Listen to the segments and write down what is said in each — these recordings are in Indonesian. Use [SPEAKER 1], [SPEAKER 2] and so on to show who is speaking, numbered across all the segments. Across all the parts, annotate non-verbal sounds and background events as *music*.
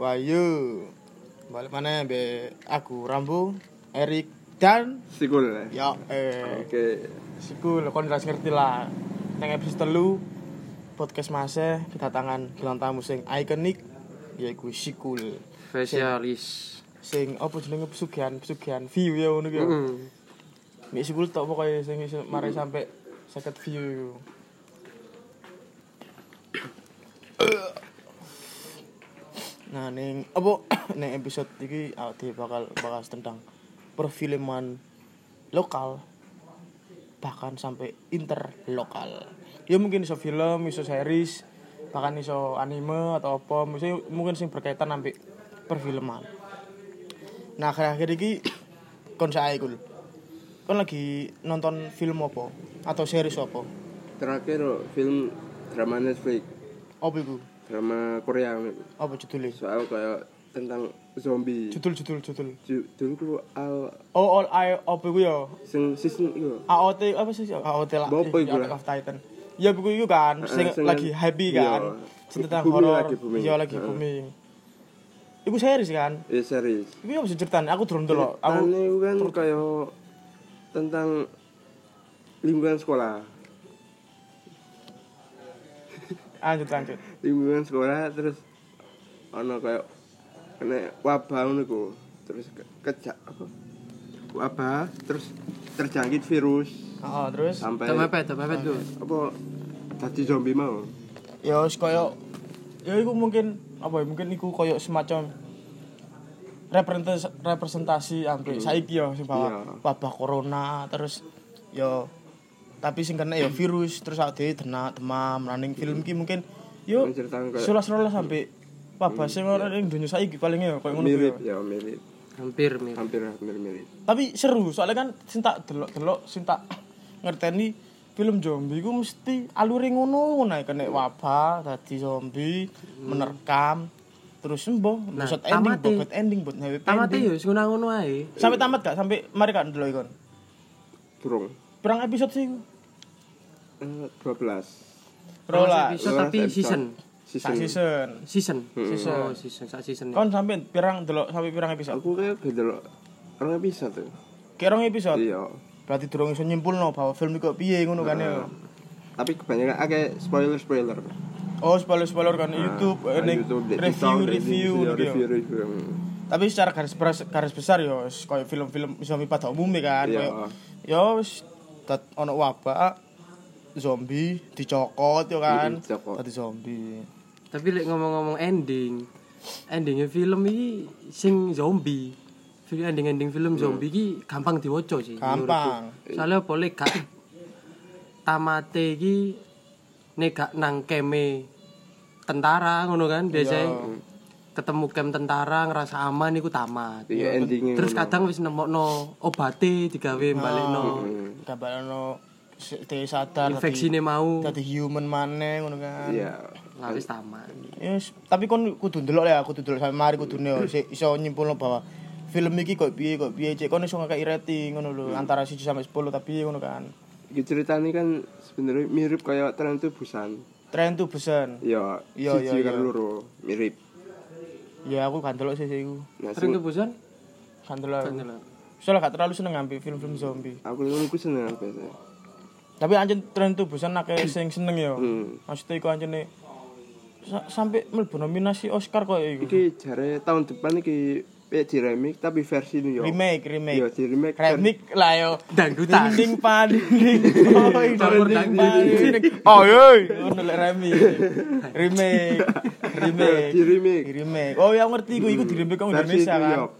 [SPEAKER 1] Wahyu balik mana be aku Rambo Erik dan
[SPEAKER 2] Sikul. eh?
[SPEAKER 1] ya eh
[SPEAKER 2] Oke.
[SPEAKER 1] siku kon jelas ngerti lah nang episode telu podcast masih kedatangan bintang tamu sing ikonik yaiku Sikul
[SPEAKER 3] spesialis
[SPEAKER 1] sing apa jenenge pesugihan pesugihan view ya ngono ki ya.
[SPEAKER 2] Hmm.
[SPEAKER 1] Mik Sikul tok pokoknya sing iso mari sampe 50 view iku. Nah, ning apa *coughs* ning episode iki awake bakal bahas tentang perfilman lokal bahkan sampai interlokal. Ya mungkin iso film, iso series, bahkan iso anime atau apa, misalnya mungkin sing berkaitan sampai perfilman. Nah, akhir-akhir iki *coughs* kon sae iku. Kon Kan lagi nonton film apa atau series apa?
[SPEAKER 2] Terakhir film drama Netflix,
[SPEAKER 1] Apa iku?
[SPEAKER 2] drama Korea.
[SPEAKER 1] Apa judulnya?
[SPEAKER 2] Soal kayak tentang zombie.
[SPEAKER 1] Judul judul judul.
[SPEAKER 2] Judulku al
[SPEAKER 1] Oh, all I apa iku ya?
[SPEAKER 2] sing season iku.
[SPEAKER 1] AOT apa sih? AOT lah.
[SPEAKER 2] Apa
[SPEAKER 1] Ih,
[SPEAKER 2] iku
[SPEAKER 1] Attack
[SPEAKER 2] lah?
[SPEAKER 1] of Titan. Ya buku itu kan, sing
[SPEAKER 2] sing-
[SPEAKER 1] lagi happy
[SPEAKER 2] iya.
[SPEAKER 1] kan. Sing tentang
[SPEAKER 2] Bumi
[SPEAKER 1] horor.
[SPEAKER 2] lagi booming. Eh.
[SPEAKER 1] Iya lagi
[SPEAKER 2] Heeh.
[SPEAKER 1] booming. Iku series kan.
[SPEAKER 2] Ya Eh, series.
[SPEAKER 1] Iku apa sih ceritanya? Aku durung delok.
[SPEAKER 2] Ceritane
[SPEAKER 1] Aku
[SPEAKER 2] iku kan kayak tentang lingkungan sekolah.
[SPEAKER 1] lanjut lanjut.
[SPEAKER 2] lingkungan sekolah terus ono kayak kena wabah ngono ku. terus ke, kejak apa wabah terus terjangkit virus
[SPEAKER 1] Oh, terus
[SPEAKER 2] sampai
[SPEAKER 3] tepepet tepepet tuh
[SPEAKER 2] apa tadi zombie mau
[SPEAKER 1] ya wis koyo ya iku mungkin apa ya mungkin iku koyo semacam representas- representasi sampai saiki ya sing bawa
[SPEAKER 2] Hmm. Iya.
[SPEAKER 1] wabah corona terus ya tapi sing kena ya virus terus ade denak demam running film ki mungkin yo
[SPEAKER 2] Menceritakan kayak-
[SPEAKER 1] sulas-sulas sampai wabah sing ora ning donya saiki paling ya koyo ngono ku
[SPEAKER 2] Hmm. mirip
[SPEAKER 1] ya.
[SPEAKER 2] ya mirip
[SPEAKER 3] hampir mirip
[SPEAKER 2] hampir hampir mirip
[SPEAKER 1] tapi seru soalnya kan sing tak delok-delok sing tak ngerteni film zombie ku mesti alure ngono ngono ae. kena wabah dadi zombie menerkam terus sembuh
[SPEAKER 3] Nah,
[SPEAKER 1] nah, ending
[SPEAKER 3] tamate.
[SPEAKER 1] bokot ending buat nyawa
[SPEAKER 3] tamatnya
[SPEAKER 1] ending
[SPEAKER 3] yo ngono ngono ae
[SPEAKER 1] sampai tamat gak sampai mari kan delok ikon
[SPEAKER 2] burung
[SPEAKER 1] pirang episode sih iku?
[SPEAKER 2] Eh, 12 Ah,
[SPEAKER 1] rola
[SPEAKER 3] Episode tapi
[SPEAKER 2] 12 episode.
[SPEAKER 3] season.
[SPEAKER 2] season,
[SPEAKER 1] sak season
[SPEAKER 3] season
[SPEAKER 2] Hmm.
[SPEAKER 1] Season.
[SPEAKER 3] oh season sak season
[SPEAKER 1] kon sampai pirang delok sampai pirang episode
[SPEAKER 2] aku kayak beda loh orang bisa tuh
[SPEAKER 1] kirang episode
[SPEAKER 2] iya
[SPEAKER 1] berarti durung iso nyimpulno bahwa film iku piye ngono kan ya
[SPEAKER 2] tapi kebanyakan agak spoiler spoiler Nah,
[SPEAKER 1] oh spoiler spoiler kan YouTube eh, ning review review
[SPEAKER 2] review
[SPEAKER 1] gitu ya.
[SPEAKER 2] review review
[SPEAKER 1] tapi secara garis bes- garis besar yo wis koyo film-film zombie pada umumnya kan
[SPEAKER 2] Iya.
[SPEAKER 1] koyo yo wis dat- ono wabah zombie dicokot yo kan
[SPEAKER 2] Mm-mm, dicokot.
[SPEAKER 1] dadi zombie
[SPEAKER 3] tapi lek ngomong-ngomong ending endingnya film iki sing zombie film ending ending film
[SPEAKER 2] Hmm.
[SPEAKER 3] zombie iki gampang diwaca sih
[SPEAKER 1] Gampang.
[SPEAKER 3] menurutku. soalnya apa lek gak tamate iki nek gak nang keme tentara ngono kan biasanya ketemu kem tentara ngerasa aman iku tamat
[SPEAKER 2] iya endingnya
[SPEAKER 3] terus
[SPEAKER 2] ngono. Ah.
[SPEAKER 3] kadang wis nemokno obate digawe balekno
[SPEAKER 2] Hmm. Mm.
[SPEAKER 1] kabalono dhewe sadar
[SPEAKER 3] infeksine mau
[SPEAKER 1] dadi human maneh ngono kan
[SPEAKER 2] iya
[SPEAKER 3] lah wis tamat
[SPEAKER 1] Yes, tapi kon kudu ndelok ya, kudu ndelok sampe mari kudu yo sik iso nyimpulno bahwa film iki kok piye kok piye cek kon iso ngakei rating ngono
[SPEAKER 2] Mm.
[SPEAKER 1] lho antara 1 sampai 10 tapi ngono kan.
[SPEAKER 2] Iki ceritanya kan sebenarnya mirip kayak tren tuh Busan.
[SPEAKER 1] Tren tuh besen.
[SPEAKER 2] Ya,
[SPEAKER 1] Iya,
[SPEAKER 2] siji
[SPEAKER 1] iya,
[SPEAKER 2] karo loro, mirip.
[SPEAKER 1] Ya aku kan ndelok sih sih iku.
[SPEAKER 2] Nah,
[SPEAKER 3] sering
[SPEAKER 2] sing,
[SPEAKER 3] kebusan
[SPEAKER 1] Kan ndelok. Soalnya gak terlalu seneng ngambil film-film zombie.
[SPEAKER 2] aku ngono ku seneng biasanya.
[SPEAKER 1] Tapi anjen tren tubusan
[SPEAKER 2] *clears throat*
[SPEAKER 1] akeh sing seneng ya.
[SPEAKER 2] Hmm.
[SPEAKER 1] Maksudnya iku anjene sa sampai mlebu nominasi Oscar kok iku.
[SPEAKER 2] Iki jare tahun depan iki eh, di remake tapi versi New York.
[SPEAKER 1] Remake,
[SPEAKER 2] Iya,
[SPEAKER 1] remake.
[SPEAKER 2] di remake. versi-
[SPEAKER 1] Remake lah yo.
[SPEAKER 3] dangdutan
[SPEAKER 2] *laughs*
[SPEAKER 1] Dinding panding. boy,
[SPEAKER 3] Campur
[SPEAKER 1] Dinding
[SPEAKER 3] tangan.
[SPEAKER 1] panding. Oh yoi. Ngono lek remake. Remake. Remake.
[SPEAKER 2] Di remake.
[SPEAKER 1] Remake. Oh ya aku ngerti iku iku di remake kok
[SPEAKER 2] Versi
[SPEAKER 1] Indonesia
[SPEAKER 2] New
[SPEAKER 1] kan.
[SPEAKER 2] York.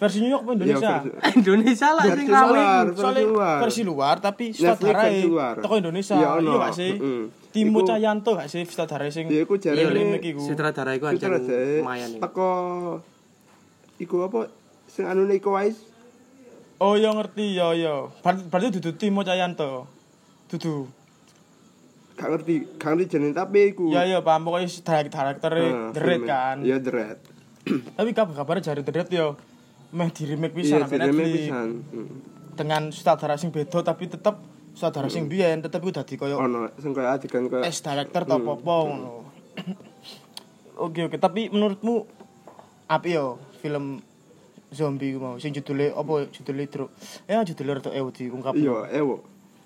[SPEAKER 1] Versi New York apa Indonesia?
[SPEAKER 2] versi-
[SPEAKER 3] Indonesia lah sing
[SPEAKER 2] Versi
[SPEAKER 3] rame
[SPEAKER 2] luar,
[SPEAKER 3] iku.
[SPEAKER 2] versi luar.
[SPEAKER 1] Soalnya versi luar tapi
[SPEAKER 2] Netflix
[SPEAKER 1] sutradara
[SPEAKER 2] versi luar.
[SPEAKER 1] toko Indonesia.
[SPEAKER 2] Iya, ono.
[SPEAKER 1] Iya gak sih?
[SPEAKER 2] Mm-mm.
[SPEAKER 1] Timo
[SPEAKER 2] Iku-
[SPEAKER 1] Cahyanto gak sih sutradara sing
[SPEAKER 2] Iya, iku jare
[SPEAKER 1] Iya,
[SPEAKER 2] ini-
[SPEAKER 1] remake iku.
[SPEAKER 3] sutradara iku
[SPEAKER 2] Itu
[SPEAKER 3] anjir
[SPEAKER 2] jare
[SPEAKER 3] lumayan iku.
[SPEAKER 2] teko iku apa sing anu iku wae
[SPEAKER 1] Oh iya ngerti ya ya. Ber- Berarti dudu Timo Cahyanto. Dudu.
[SPEAKER 2] gak ngerti, gak ngerti jeneng tapi iku.
[SPEAKER 1] Ya ya paham pokoknya karakter
[SPEAKER 2] Nah,
[SPEAKER 1] deret
[SPEAKER 2] filmnya.
[SPEAKER 1] kan.
[SPEAKER 2] Ah, Iya, The Red.
[SPEAKER 1] Tapi kabar kabarnya jari deret ya meh di remake
[SPEAKER 2] Iya,
[SPEAKER 1] pisan
[SPEAKER 2] di
[SPEAKER 1] sampe
[SPEAKER 2] remake
[SPEAKER 1] Netflix
[SPEAKER 2] pisan. Hmm.
[SPEAKER 1] dengan sutradara sing beda tapi tetep sutradara
[SPEAKER 2] Mm.
[SPEAKER 1] sing biyen tetep iku dadi koyo
[SPEAKER 2] Ono sing kayak adegan kayak
[SPEAKER 1] *coughs* es director atau apa ngono. Oke oke, tapi menurutmu api yo film zombie ku mau sing judule apa judule Dro. Ya judule Retok Ewu diungkap.
[SPEAKER 2] iya ewo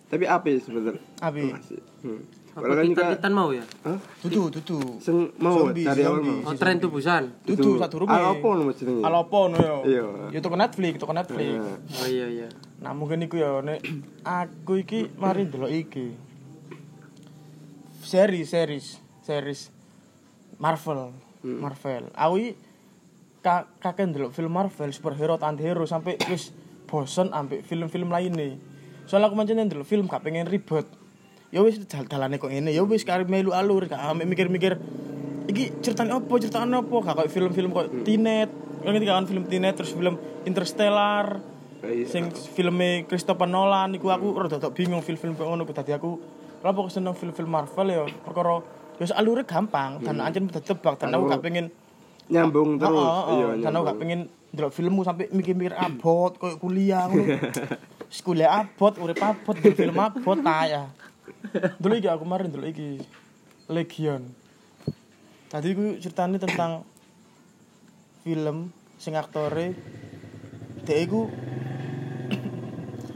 [SPEAKER 2] tapi api sebenarnya
[SPEAKER 1] Api.
[SPEAKER 2] Masih. hmm.
[SPEAKER 3] Apa
[SPEAKER 2] Padahal kan juga
[SPEAKER 3] titan-titan mau ya?
[SPEAKER 2] Hah?
[SPEAKER 1] Dudu, dudu.
[SPEAKER 2] Sing mau
[SPEAKER 1] Zombie,
[SPEAKER 2] dari awal
[SPEAKER 1] zombie.
[SPEAKER 2] mau.
[SPEAKER 3] Oh, tren tubusan.
[SPEAKER 1] Dudu sak durunge.
[SPEAKER 2] Alopon mas jenenge.
[SPEAKER 1] Alopon yo.
[SPEAKER 2] Iya.
[SPEAKER 1] Yo teko Netflix, teko Netflix.
[SPEAKER 2] Nah,
[SPEAKER 3] Oh iya iya.
[SPEAKER 1] Nah mungkin iku ya nek aku iki mari ndelok iki. Seri series series Marvel. Marvel. Aku iki ka kakek ndelok film Marvel superhero antihero sampai wis bosen ambek film-film lainnya. Soalnya aku mancen ndelok film gak pengen ribet. Ya wis dal dalane kok ngene, ya wis kari melu alur gak ambek mikir-mikir iki ceritane opo, ceritane opo, gak koyo film-film koyo Tenet. Kan iki kan film Tenet terus film Interstellar.
[SPEAKER 2] iya.
[SPEAKER 1] sing filme Christopher Nolan niku aku rada tok bingung film-film kok ngono dadi aku lha kok seneng film-film Marvel ya perkara ya alure gampang dan ancen udah tebak dan aku gak pengen
[SPEAKER 2] Nyambung
[SPEAKER 1] Oh,
[SPEAKER 2] terus.
[SPEAKER 1] oh, oh, dan aku gak pengen ndelok filmmu sampai mikir-mikir abot koyo kuliah ngono Wis kuliah abot urip abot ndelok film abot ta ya dulu iki aku kemarin dulu iki Legion tadi aku ceritanya tentang film sing aktore dia iku *coughs*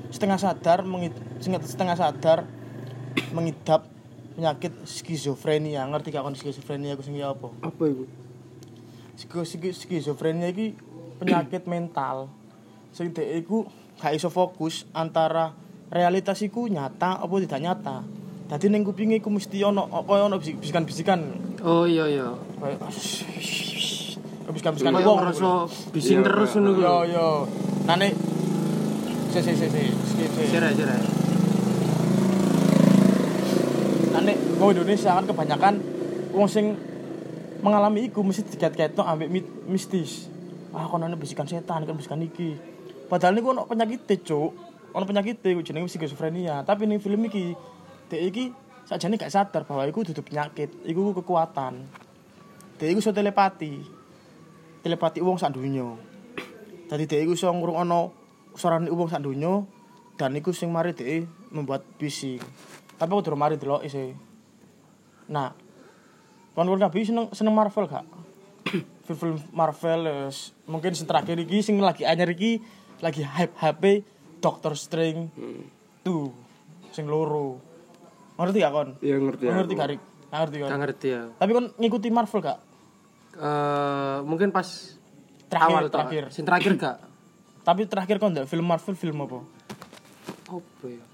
[SPEAKER 1] setengah sadar mengid- sing- setengah sadar mengidap penyakit skizofrenia ngerti gak kon skizofrenia aku sing ya apa
[SPEAKER 2] Apa itu?
[SPEAKER 1] Skizo- skizo- skizofrenia iki penyakit mental sing dhek iku gak iso fokus antara realitas iku nyata apa tidak nyata dadi ning kupinge iku mesti ono koyo ono bisik- bisikan-bisikan
[SPEAKER 3] Oh iya iya.
[SPEAKER 1] koyo bisikan-bisikan
[SPEAKER 3] Kayak
[SPEAKER 1] wong
[SPEAKER 3] ngerasa
[SPEAKER 2] Iya,
[SPEAKER 3] bising terus ngono kuwi.
[SPEAKER 1] yo yo nane si si si si si si
[SPEAKER 3] Jere jere.
[SPEAKER 1] Ane wong Indonesia kan kebanyakan wong sing mengalami iku mesti dikait-kaitno ambek mit- mistis. Ah kono ana bisikan setan, kan bisikan iki. Padahal niku ono penyakite, Cuk. Ono penyakite iku jenenge skizofrenia, tapi ning film iki dhek iki sajane gak sadar bahwa iku dudu penyakit, iku kekuatan. Dhek iku iso telepati. Telepati wong sak donya. Dadi dhek iku iso ngrungokno suarane wong sak donya dan iku sing mari dhek membuat bising. Tapi aku durung mari delok sih. Nah, kon-kon kabeh seneng seneng Marvel gak? *clears throat* Film-film Marvel eh, s- mungkin sing terakhir iki sing lagi anyar iki lagi hype HP Doctor Strange tuh sing loro. Ngerti gak kon?
[SPEAKER 2] Iya ngerti aku.
[SPEAKER 1] Oh, Ngerti gak Rik? Gak Ngerti kon.
[SPEAKER 3] Gak ngerti ya.
[SPEAKER 1] Tapi kon ngikuti Marvel gak?
[SPEAKER 3] Eh mungkin pas
[SPEAKER 1] Terakhir,
[SPEAKER 3] awal toh.
[SPEAKER 1] terakhir.
[SPEAKER 3] Sing terakhir gak?
[SPEAKER 1] Tapi terakhir kon ndak film Marvel film apa?
[SPEAKER 3] Apa ya?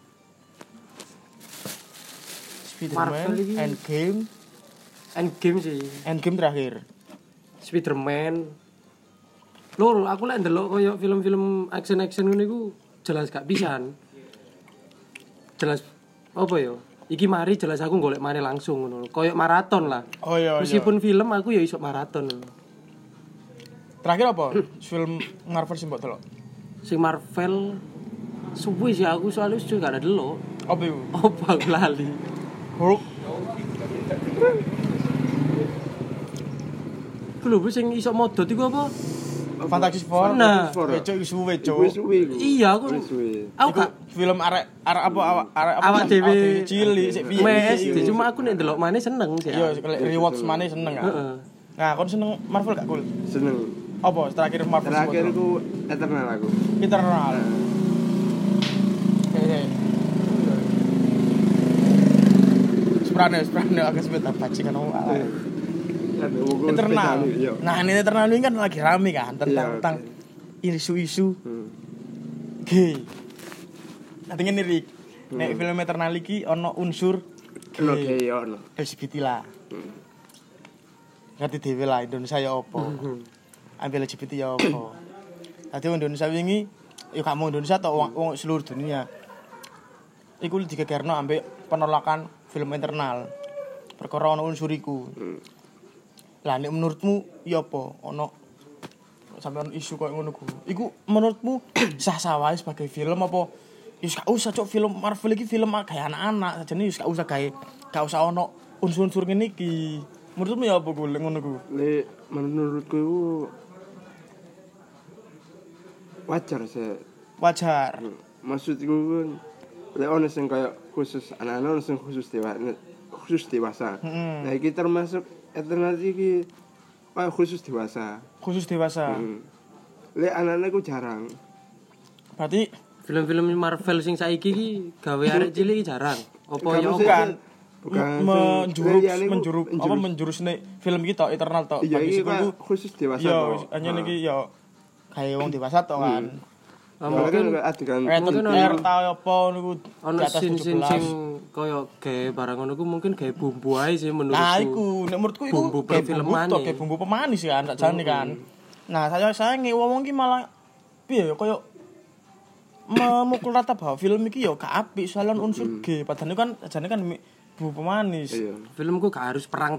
[SPEAKER 3] Marvel
[SPEAKER 1] Spider-Man,
[SPEAKER 3] iki-
[SPEAKER 1] Endgame,
[SPEAKER 3] Endgame sih.
[SPEAKER 1] Endgame terakhir.
[SPEAKER 3] Spiderman lol aku lek ndelok koyo film-film action-action ngene iku jelas gak pisan jelas apa yo iki mari jelas aku golek mari langsung ngono lho. koyo maraton lah
[SPEAKER 1] Oh iya,
[SPEAKER 3] meskipun film aku ya iso maraton lho.
[SPEAKER 1] Terakhir apa? film Marvel sing mbok delok.
[SPEAKER 3] sing Marvel suwe sih aku soalnya sudah gak ada delok
[SPEAKER 1] Apa iku?
[SPEAKER 3] apa aku lali
[SPEAKER 1] Hulk.
[SPEAKER 3] lho wis sing iso modot iku apa
[SPEAKER 1] Fantastic Four.
[SPEAKER 3] Nah.
[SPEAKER 2] Fantastic Four.
[SPEAKER 1] Weco iku suwe, Cuk.
[SPEAKER 2] Wis suwe iku.
[SPEAKER 3] iya aku
[SPEAKER 2] Wis suwe.
[SPEAKER 3] aku
[SPEAKER 1] Iku
[SPEAKER 3] gak
[SPEAKER 1] film arek arek apa awak arek apa?
[SPEAKER 3] Awak dhewe.
[SPEAKER 1] cilik sik piye.
[SPEAKER 3] mes
[SPEAKER 1] sik
[SPEAKER 3] sih,
[SPEAKER 1] piye.
[SPEAKER 3] cuma aku nek ndelok maneh seneng sih
[SPEAKER 1] Iya, lek rewards maneh seneng kan.
[SPEAKER 3] Heeh.
[SPEAKER 1] Nah, kon seneng Marvel gak kul?
[SPEAKER 2] Seneng.
[SPEAKER 1] Apa terakhir Marvel sing mbok
[SPEAKER 2] Terakhir
[SPEAKER 1] delok?
[SPEAKER 2] itu Eternal aku.
[SPEAKER 1] Eternal.
[SPEAKER 2] Nah,
[SPEAKER 1] Oke, oke. Seprane, seprane aku sebut apa cikan awak.
[SPEAKER 2] Eh. kan, wongku
[SPEAKER 1] internal.
[SPEAKER 2] spesialis, Iya.
[SPEAKER 1] Nah, ini internal ini kan lagi rame kan tentang
[SPEAKER 2] Iya,
[SPEAKER 1] tentang isu-isu
[SPEAKER 2] Hmm.
[SPEAKER 1] gay. Nanti ngene Rik. Nek film internal iki ono unsur
[SPEAKER 2] Hmm. Ono
[SPEAKER 1] gay,
[SPEAKER 2] gay ono.
[SPEAKER 1] LGBT lah. Ngerti dhewe lah Indonesia ya opo. Ambil LGBT ya opo. Tadi wong Indonesia wingi ya gak mau Indonesia atau wong, wong seluruh dunia. Iku digegerno ambek penolakan film internal. Perkara ono unsur iku. Lah nek menurutmu ya apa ono sampean isu koyo ngono ku. Iku menurutmu *clears throat* sah-sah wae sebagai film apa ya gak usah cok film Marvel iki film kayak anak-anak sajane ya gak usah kayak gak usah ono unsur-unsur ngene iki. Menurutmu ya apa ku lek ngono ku?
[SPEAKER 2] Le, menurutku itu wajar sih.
[SPEAKER 1] Wajar.
[SPEAKER 2] Maksudku kan le ono sing kayak khusus anak-anak ono sing
[SPEAKER 1] Hmm.
[SPEAKER 2] khusus dewasa, khusus dewasa. Nah, iki termasuk Eternal iki oh, khusus dewasa
[SPEAKER 1] khusus dewasa
[SPEAKER 2] hmm. le anak-anak ku jarang
[SPEAKER 1] berarti
[SPEAKER 3] Film-film Marvel sing saiki ki gawe arek cilik ki jarang. Apa
[SPEAKER 2] Gak
[SPEAKER 3] ya
[SPEAKER 2] mesti-
[SPEAKER 3] apa?
[SPEAKER 2] bukan
[SPEAKER 1] Oh, m- menjurus
[SPEAKER 2] Le, yani ku
[SPEAKER 1] menjurus apa menjurus nih film kita Eternal tok
[SPEAKER 2] iya
[SPEAKER 1] bagi
[SPEAKER 2] ini
[SPEAKER 1] sikulku
[SPEAKER 2] Pak, khusus dewasa
[SPEAKER 1] ya
[SPEAKER 2] toh.
[SPEAKER 1] hanya
[SPEAKER 2] Ah. Hmm.
[SPEAKER 1] niki ya kayak wong dewasa tok kan
[SPEAKER 2] Soalnya
[SPEAKER 3] Ah,
[SPEAKER 2] kan
[SPEAKER 3] Mungkin
[SPEAKER 2] nggak adegan
[SPEAKER 1] Rated
[SPEAKER 3] Mungkin
[SPEAKER 1] R
[SPEAKER 3] ono-
[SPEAKER 1] tau apa niku
[SPEAKER 3] ono
[SPEAKER 1] di atas
[SPEAKER 3] sin sin
[SPEAKER 1] 17.
[SPEAKER 3] sing koyo gawe barang ngono ku mungkin gawe bumbu ae sih menurutku.
[SPEAKER 1] Nah, iku nek menurutku iku
[SPEAKER 3] Bumbu
[SPEAKER 1] kayak bumbu
[SPEAKER 3] perfilman
[SPEAKER 1] tok,
[SPEAKER 3] nih.
[SPEAKER 1] kayak bumbu pemanis kan, tak jane kan.
[SPEAKER 2] Hmm.
[SPEAKER 1] Nah, saya saya ngewong iki malah piye ya koyo memukul rata bahwa film iki ya gak apik soalnya unsur G padahal itu kan jane kan mi- bumbu pemanis.
[SPEAKER 2] Hmm. iya
[SPEAKER 3] Filmku gak harus perang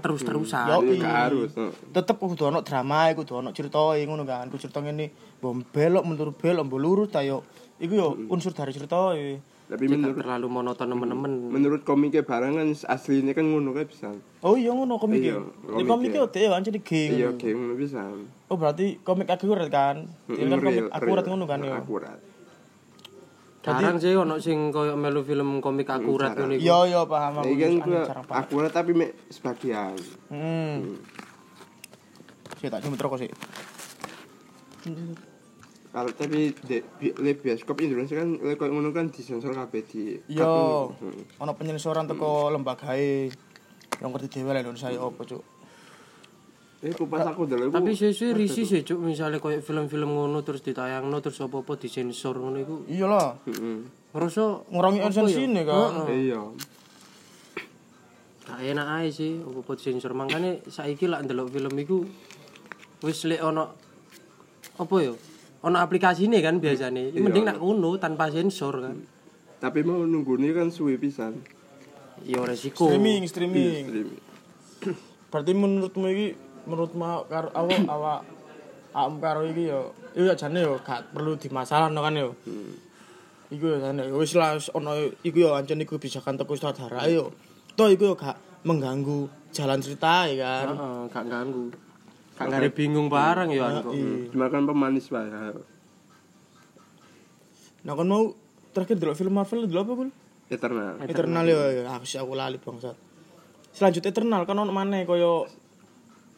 [SPEAKER 1] Yo.
[SPEAKER 2] Iya,
[SPEAKER 3] terus-terusan.
[SPEAKER 1] Tapi-
[SPEAKER 2] gak harus oh. no.
[SPEAKER 1] Tetep kudu ono drama, e, kudu ono cerita ngono kan. Kudu cerita ngene, mbok belok mundur belok mbok lurus ta yo. Iku yo
[SPEAKER 2] Hmm.
[SPEAKER 1] unsur dari cerita iki.
[SPEAKER 2] tapi
[SPEAKER 3] Jadi gak
[SPEAKER 2] menurut
[SPEAKER 3] terlalu
[SPEAKER 1] Hmm.
[SPEAKER 3] monoton temen-temen.
[SPEAKER 2] menurut komiknya barang kan aslinya kan ngono kan bisa
[SPEAKER 1] Oh iya ngono komik iki.
[SPEAKER 2] Iya,
[SPEAKER 1] Di komik
[SPEAKER 2] komik
[SPEAKER 1] iki
[SPEAKER 2] iki.
[SPEAKER 1] ode kan jadi geng.
[SPEAKER 2] iya oke ngono bisa
[SPEAKER 1] Oh berarti komik akurat kan?
[SPEAKER 2] Hmm,
[SPEAKER 1] Iya kan komik akurat ngono kan yo.
[SPEAKER 2] akurat
[SPEAKER 3] Jarang sih ono sing koyo melu film komik akurat ngono iku.
[SPEAKER 1] Hmm, Yo yo paham aku.
[SPEAKER 2] Ini kan
[SPEAKER 1] Anjing,
[SPEAKER 2] gua
[SPEAKER 1] jarang paham.
[SPEAKER 2] akurat tapi mek sebagian
[SPEAKER 1] Hmm. Sih tak cuma rokok sih.
[SPEAKER 2] kalau tapi di, bi, le bioskop Indonesia kan le koyo ngono kan disensor kabeh di
[SPEAKER 1] Yo, ono penyelesaian teko lembagae yang ngerti dhewe lah Indonesia ya opo cuk.
[SPEAKER 2] eh kupas aku dulu
[SPEAKER 3] Tapi sih risih sih cuk misale koyo film-film ngono terus ditayangno terus apa-apa disensor ngono iku.
[SPEAKER 1] Iya lah,
[SPEAKER 3] Ngerasa
[SPEAKER 1] ngurangi
[SPEAKER 3] apa
[SPEAKER 1] onsen
[SPEAKER 3] ya?
[SPEAKER 1] sini kan.
[SPEAKER 3] Heeh.
[SPEAKER 2] iya
[SPEAKER 3] Gak enak ae sih apa-apa disensor. Makane saiki lak ndelok film iku wis lek ono apa ya? Ono aplikasine kan biasane. Mending nak ngono tanpa sensor kan.
[SPEAKER 2] tapi mau nunggu kan suwi pisan
[SPEAKER 3] Ya resiko.
[SPEAKER 1] Streaming, streaming.
[SPEAKER 2] Streaming.
[SPEAKER 1] Berarti menurutmu iki menurutmu awak karo awak awak awakmu karo iki yo iya jane yo gak perlu dimasalahno kan yo. Iku yo jane yo wis lah wis ono iku yo ancen iku bisa kan teko sutradara yo. Toh iku yo gak mengganggu jalan cerita ya kan.
[SPEAKER 3] Heeh, gak ganggu. Eh, Gak ngare bingung barang ya aku.
[SPEAKER 1] Iya.
[SPEAKER 2] cuma kan Hmm. pemanis wae ya.
[SPEAKER 1] Nah kan mau terakhir dulu film Marvel dulu apa gue?
[SPEAKER 2] eternal
[SPEAKER 1] Eternal ya, ya aku sih aku lali bangsat. Selanjutnya Eternal kan ono maneh koyo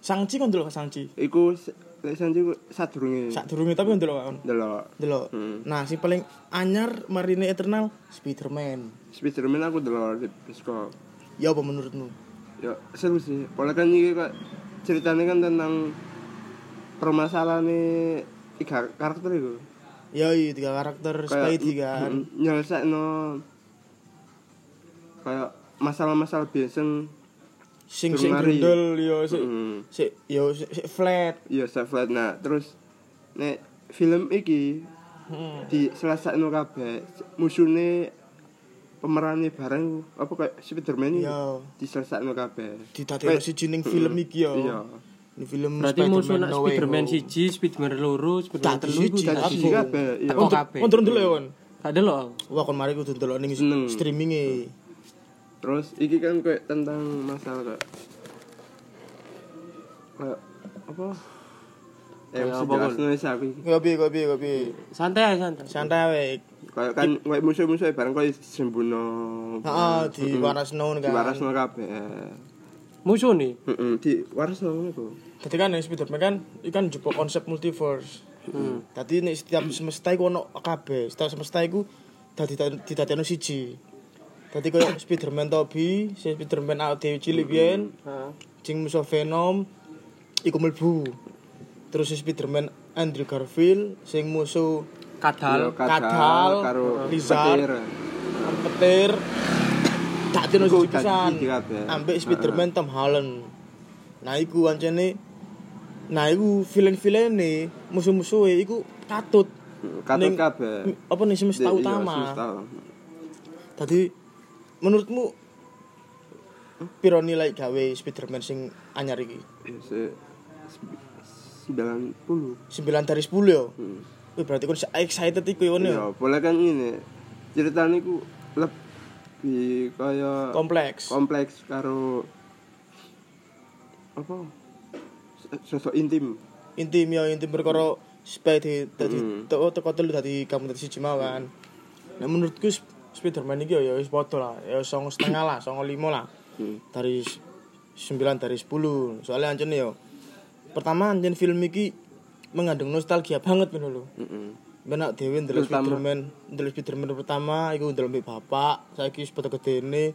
[SPEAKER 1] Sangchi kan dulu Sangchi.
[SPEAKER 2] iku se- lek sanji ku sadurunge
[SPEAKER 1] Sak durunge tapi kan dulu kan.
[SPEAKER 2] delok
[SPEAKER 1] Delok.
[SPEAKER 2] Hmm.
[SPEAKER 1] Nah, si paling anyar marine Eternal Spiderman.
[SPEAKER 2] Spiderman aku delok di bioskop
[SPEAKER 1] Ya apa menurutmu?
[SPEAKER 2] ya seru sih Pola kan ini kok ceritanya kan tentang permasalahan nih tiga karakter itu
[SPEAKER 1] Ya iya tiga karakter Spidey kan.
[SPEAKER 2] nyelesai no kayak masalah-masalah biasa
[SPEAKER 1] Sing sing
[SPEAKER 2] Durung lari.
[SPEAKER 1] gendel yo si
[SPEAKER 2] hmm.
[SPEAKER 1] si yo si, si flat.
[SPEAKER 2] ya Starflight nah terus nek film iki
[SPEAKER 1] Hmm.
[SPEAKER 2] di selesai no kabeh musuhnya pemerannya bareng apa kayak Spiderman ini
[SPEAKER 1] Yo
[SPEAKER 2] di selesai no kabeh
[SPEAKER 1] ditatekno siji ning film iki yo.
[SPEAKER 2] Hmm. iya
[SPEAKER 1] Ini film
[SPEAKER 3] Berarti
[SPEAKER 1] Spiderman
[SPEAKER 3] musuh nak
[SPEAKER 1] No Way
[SPEAKER 3] Spiderman
[SPEAKER 1] Home.
[SPEAKER 3] siji, Spiderman loro, Spiderman
[SPEAKER 1] Tak
[SPEAKER 3] telu iku
[SPEAKER 1] siji,
[SPEAKER 3] gak
[SPEAKER 2] tak
[SPEAKER 1] tak
[SPEAKER 2] siji
[SPEAKER 1] siji.
[SPEAKER 2] kabeh, iya.
[SPEAKER 1] Untuk-
[SPEAKER 3] Oh, kabeh.
[SPEAKER 1] Untuk
[SPEAKER 2] Hmm.
[SPEAKER 1] dulu ya kon.
[SPEAKER 3] gak delok aku.
[SPEAKER 1] Wah kon mari kudu ndelok ning
[SPEAKER 2] Seneng.
[SPEAKER 1] streaminge.
[SPEAKER 2] Terus iki kan kayak tentang masalah kayak kayak apa? Eh,
[SPEAKER 3] Kayak
[SPEAKER 2] mesti
[SPEAKER 3] apa,
[SPEAKER 2] jelas nulis aku iki.
[SPEAKER 1] Kopi kopi kopi.
[SPEAKER 3] Santai ae, santai.
[SPEAKER 1] Santai wae.
[SPEAKER 2] Kayak kan kayak musuh-musuh bareng kayak disembunno.
[SPEAKER 1] Heeh, di Warasno kan.
[SPEAKER 2] Hmm. Di warasno kabeh.
[SPEAKER 3] Musuh nih.
[SPEAKER 2] Heeh, di warasno iku.
[SPEAKER 1] Dadi kan nek Spiderman kan ikan jupuk konsep multiverse. Dadi nek setiap semesta iku ono kabeh. Setiap semesta iku dadi didadekno siji. Dadi koyo Spiderman Toby, si Spiderman awake dhewe cilik biyen, sing musuh Venom iku mlebu. Terus si Spiderman Andrew Garfield sing musuh
[SPEAKER 3] Kadal.
[SPEAKER 1] kadal,
[SPEAKER 2] Iya, karo
[SPEAKER 1] lizard.
[SPEAKER 2] petir.
[SPEAKER 1] petir tak dino
[SPEAKER 2] Iku
[SPEAKER 1] siji pisan
[SPEAKER 2] dadi kabeh.
[SPEAKER 1] ambek Spiderman Tom Holland nah iku ancene nah iku villain-villaine musuh-musuhe iku katut
[SPEAKER 2] Katut
[SPEAKER 1] Ning-
[SPEAKER 2] kabeh.
[SPEAKER 1] apa nih semesta
[SPEAKER 2] Di- iya, semesta.
[SPEAKER 1] utama tadi menurutmu piro nilai gawe Spiderman sing anyar iki
[SPEAKER 2] Iya, se- se- 90.
[SPEAKER 1] 9 dari 10 yo
[SPEAKER 2] Hmm.
[SPEAKER 1] Wih, berarti kon excited iku yo
[SPEAKER 2] Iya,
[SPEAKER 1] yo
[SPEAKER 2] boleh kan ini. Ceritanya ku lebih kayak
[SPEAKER 1] kompleks
[SPEAKER 2] kompleks karo apa sosok intim
[SPEAKER 1] intim yo intim perkara Spidey dadi
[SPEAKER 2] Mm.
[SPEAKER 1] teko teko telu dadi kamu dadi siji mau kan. Nah menurutku Sp- Spiderman iki yo yo wis padha lah, yo 9,5 lah, 9,5 lah.
[SPEAKER 2] Hmm.
[SPEAKER 1] Dari 9 dari 10. Soalnya ancen yo pertama anjen film iki mengandung nostalgia *laughs* banget ngono lho.
[SPEAKER 2] Heeh.
[SPEAKER 1] Benak dhewe ndelok
[SPEAKER 2] Hmm. Terutama-
[SPEAKER 1] Spiderman, ndelok Spiderman pertama iku ndelok mbek bapak, saiki wis padha gedene.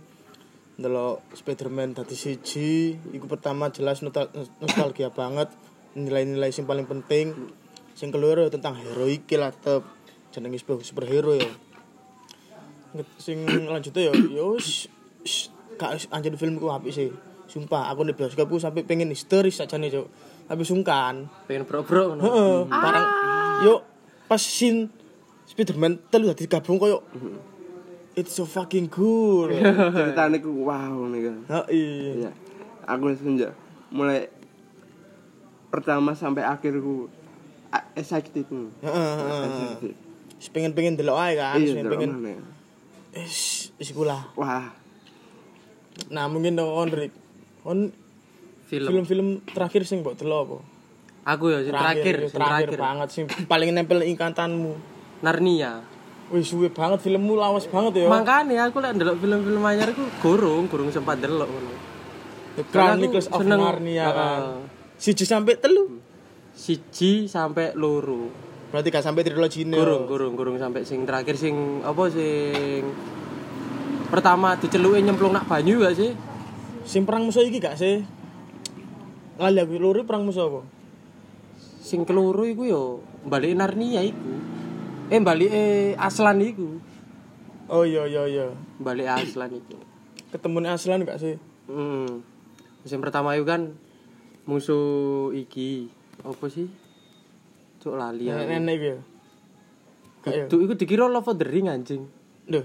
[SPEAKER 1] Ndelok Spiderman dadi siji, iku pertama jelas nostal- nostalgia banget, nilai-nilai sing paling penting. Sing keloro ya tentang hero iki lah tep jenenge super- superhero ya. Nget- Sing lanjutnya ya ya wis wis, gak wis, anjen film iku apik sih. Sumpah aku di bioskop ku sampe pengen histeris sajane, Cuk. Tapi sungkan.
[SPEAKER 3] pengen bro-bro ngono.
[SPEAKER 1] Heeh, barang yo pas scene Spiderman telu dadi gabung koyo It's so fucking cool.
[SPEAKER 2] Ceritane ku wow nih kan.
[SPEAKER 1] Heeh.
[SPEAKER 2] Iya. Aku senja mulai pertama sampai akhir ku a- excited nih.
[SPEAKER 1] Heeh, heeh.
[SPEAKER 2] Excited.
[SPEAKER 1] Wis pengen-pengen delok ae kan, wis
[SPEAKER 2] Iya, delok
[SPEAKER 1] pengen
[SPEAKER 2] mana ya.
[SPEAKER 1] wis wis kula.
[SPEAKER 2] Wah,
[SPEAKER 1] Nah, mungkin dong kon Rick. Kon
[SPEAKER 3] Film.
[SPEAKER 1] film-film terakhir sing mbok delok apa?
[SPEAKER 3] Aku ya sing terakhir,
[SPEAKER 1] yo,
[SPEAKER 3] sing terakhir.
[SPEAKER 1] banget sing paling nempel ing kantanmu.
[SPEAKER 3] Narnia.
[SPEAKER 1] Wih, suwe banget filmmu lawas banget ya.
[SPEAKER 3] Makanya aku lek ndelok film-film anyar iku gorong, gorong sempat ndelok ngono.
[SPEAKER 1] The
[SPEAKER 3] Soalnya aku
[SPEAKER 1] Chronicles of
[SPEAKER 3] seneng-
[SPEAKER 1] Narnia kan.
[SPEAKER 3] Heeh.
[SPEAKER 1] Siji sampai telu.
[SPEAKER 3] Siji sampai loro.
[SPEAKER 1] Berarti gak sampai trilogi ini.
[SPEAKER 3] Gorong, gorong, gorong sampai sing terakhir sing apa sing pertama diceluke nyemplung nak banyu gak sih?
[SPEAKER 1] Sing perang musuh iki gak sih? Lali aku loro perang musuh apa?
[SPEAKER 3] Sing keloro iku yo balik Narnia iku. Eh balik Aslan iku.
[SPEAKER 1] Oh iya iya iya.
[SPEAKER 3] Balik Aslan iku.
[SPEAKER 1] Ketemu Aslan gak sih?
[SPEAKER 3] Hmm. Musim pertama itu kan musuh iki apa sih? Cuk lali ya.
[SPEAKER 1] Nenek iki. ya? Gak ya?
[SPEAKER 3] Itu iku dikira Love of the Ring anjing.
[SPEAKER 1] Duh,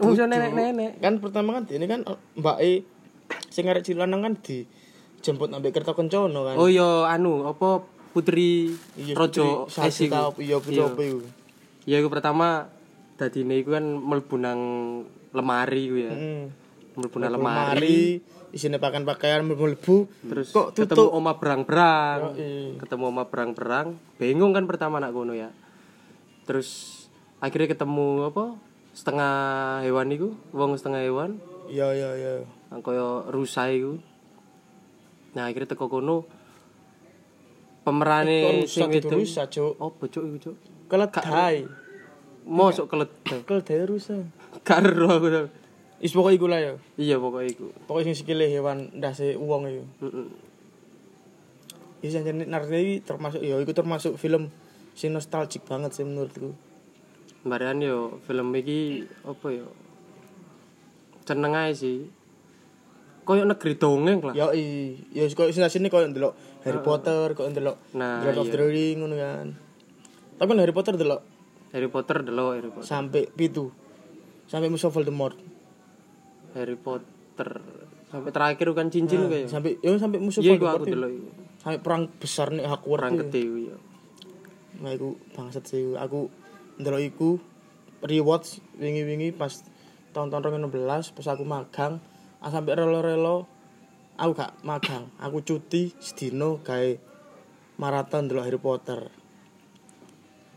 [SPEAKER 3] Musuh nenek-nenek.
[SPEAKER 1] kan pertama kan ini kan Mbak E sing arek cilik lanang kan dijemput ambek kerta kencono kan.
[SPEAKER 3] Oh iya anu apa Putri Rojo Es
[SPEAKER 1] Sasi
[SPEAKER 3] iku.
[SPEAKER 1] iya putri apa iku.
[SPEAKER 3] Ya iku pertama dadine iku kan mlebu nang lemari iku ya.
[SPEAKER 1] Heeh.
[SPEAKER 3] Hmm. Mlebu nang lemari
[SPEAKER 1] Hmm. Lemari isine pakaian-pakaian mlebu-mlebu.
[SPEAKER 3] terus
[SPEAKER 1] kok
[SPEAKER 3] ketemu
[SPEAKER 1] tutup. Eh,
[SPEAKER 3] oma berang-berang.
[SPEAKER 1] Yoi.
[SPEAKER 3] ketemu sama perang-perang bingung kan pertama anak kono ya terus akhirnya ketemu apa setengah hewan itu wong setengah hewan
[SPEAKER 1] Iya iya iya.
[SPEAKER 3] yang kaya rusa itu nah akhirnya teko kono pemerane
[SPEAKER 1] Terus
[SPEAKER 3] Eh, sing
[SPEAKER 1] satu
[SPEAKER 3] itu
[SPEAKER 1] rusak, Cuk.
[SPEAKER 3] oh bocok iku cuk
[SPEAKER 1] Keledai.
[SPEAKER 3] mosok keledai
[SPEAKER 1] Keledai rusak.
[SPEAKER 3] *laughs* karo aku tau.
[SPEAKER 1] Is pokoke iku lah ya.
[SPEAKER 3] iya pokoknya iku
[SPEAKER 1] Pokoke sing sikile hewan ndase uwong iku.
[SPEAKER 3] Mm-mm.
[SPEAKER 1] Is anjene Narnia iki termasuk ya iku termasuk film sing nostalgic banget sih menurutku.
[SPEAKER 3] Mbarian yo film iki apa yo seneng ae sih koyo negeri dongeng lah
[SPEAKER 1] Ya i, ya is koyo sensasine koyo ndelok Harry Potter, koyo ndelok
[SPEAKER 3] Ah. Nah,
[SPEAKER 1] Lord of the Ring ngono kan. Tapi kan Harry Potter ndelok
[SPEAKER 3] Harry Potter delok Harry Potter.
[SPEAKER 1] sampai pitu. Sampai musuh Voldemort.
[SPEAKER 3] Harry Potter sampai terakhir kan cincin kayak.
[SPEAKER 1] Sampai yo sampai musuh
[SPEAKER 3] Iya
[SPEAKER 1] Voldemort.
[SPEAKER 3] gua aku delok iku.
[SPEAKER 1] Sampai perang besar nih Hogwarts.
[SPEAKER 3] perang
[SPEAKER 1] iku.
[SPEAKER 3] gede iku ya.
[SPEAKER 1] Nah, iku bangsat sih aku ndelok iku rewatch wingi-wingi pas tahun tahun 2016 pas aku magang ah, sampai relo-relo aku gak magang aku cuti sedino gawe maraton ndelok Harry Potter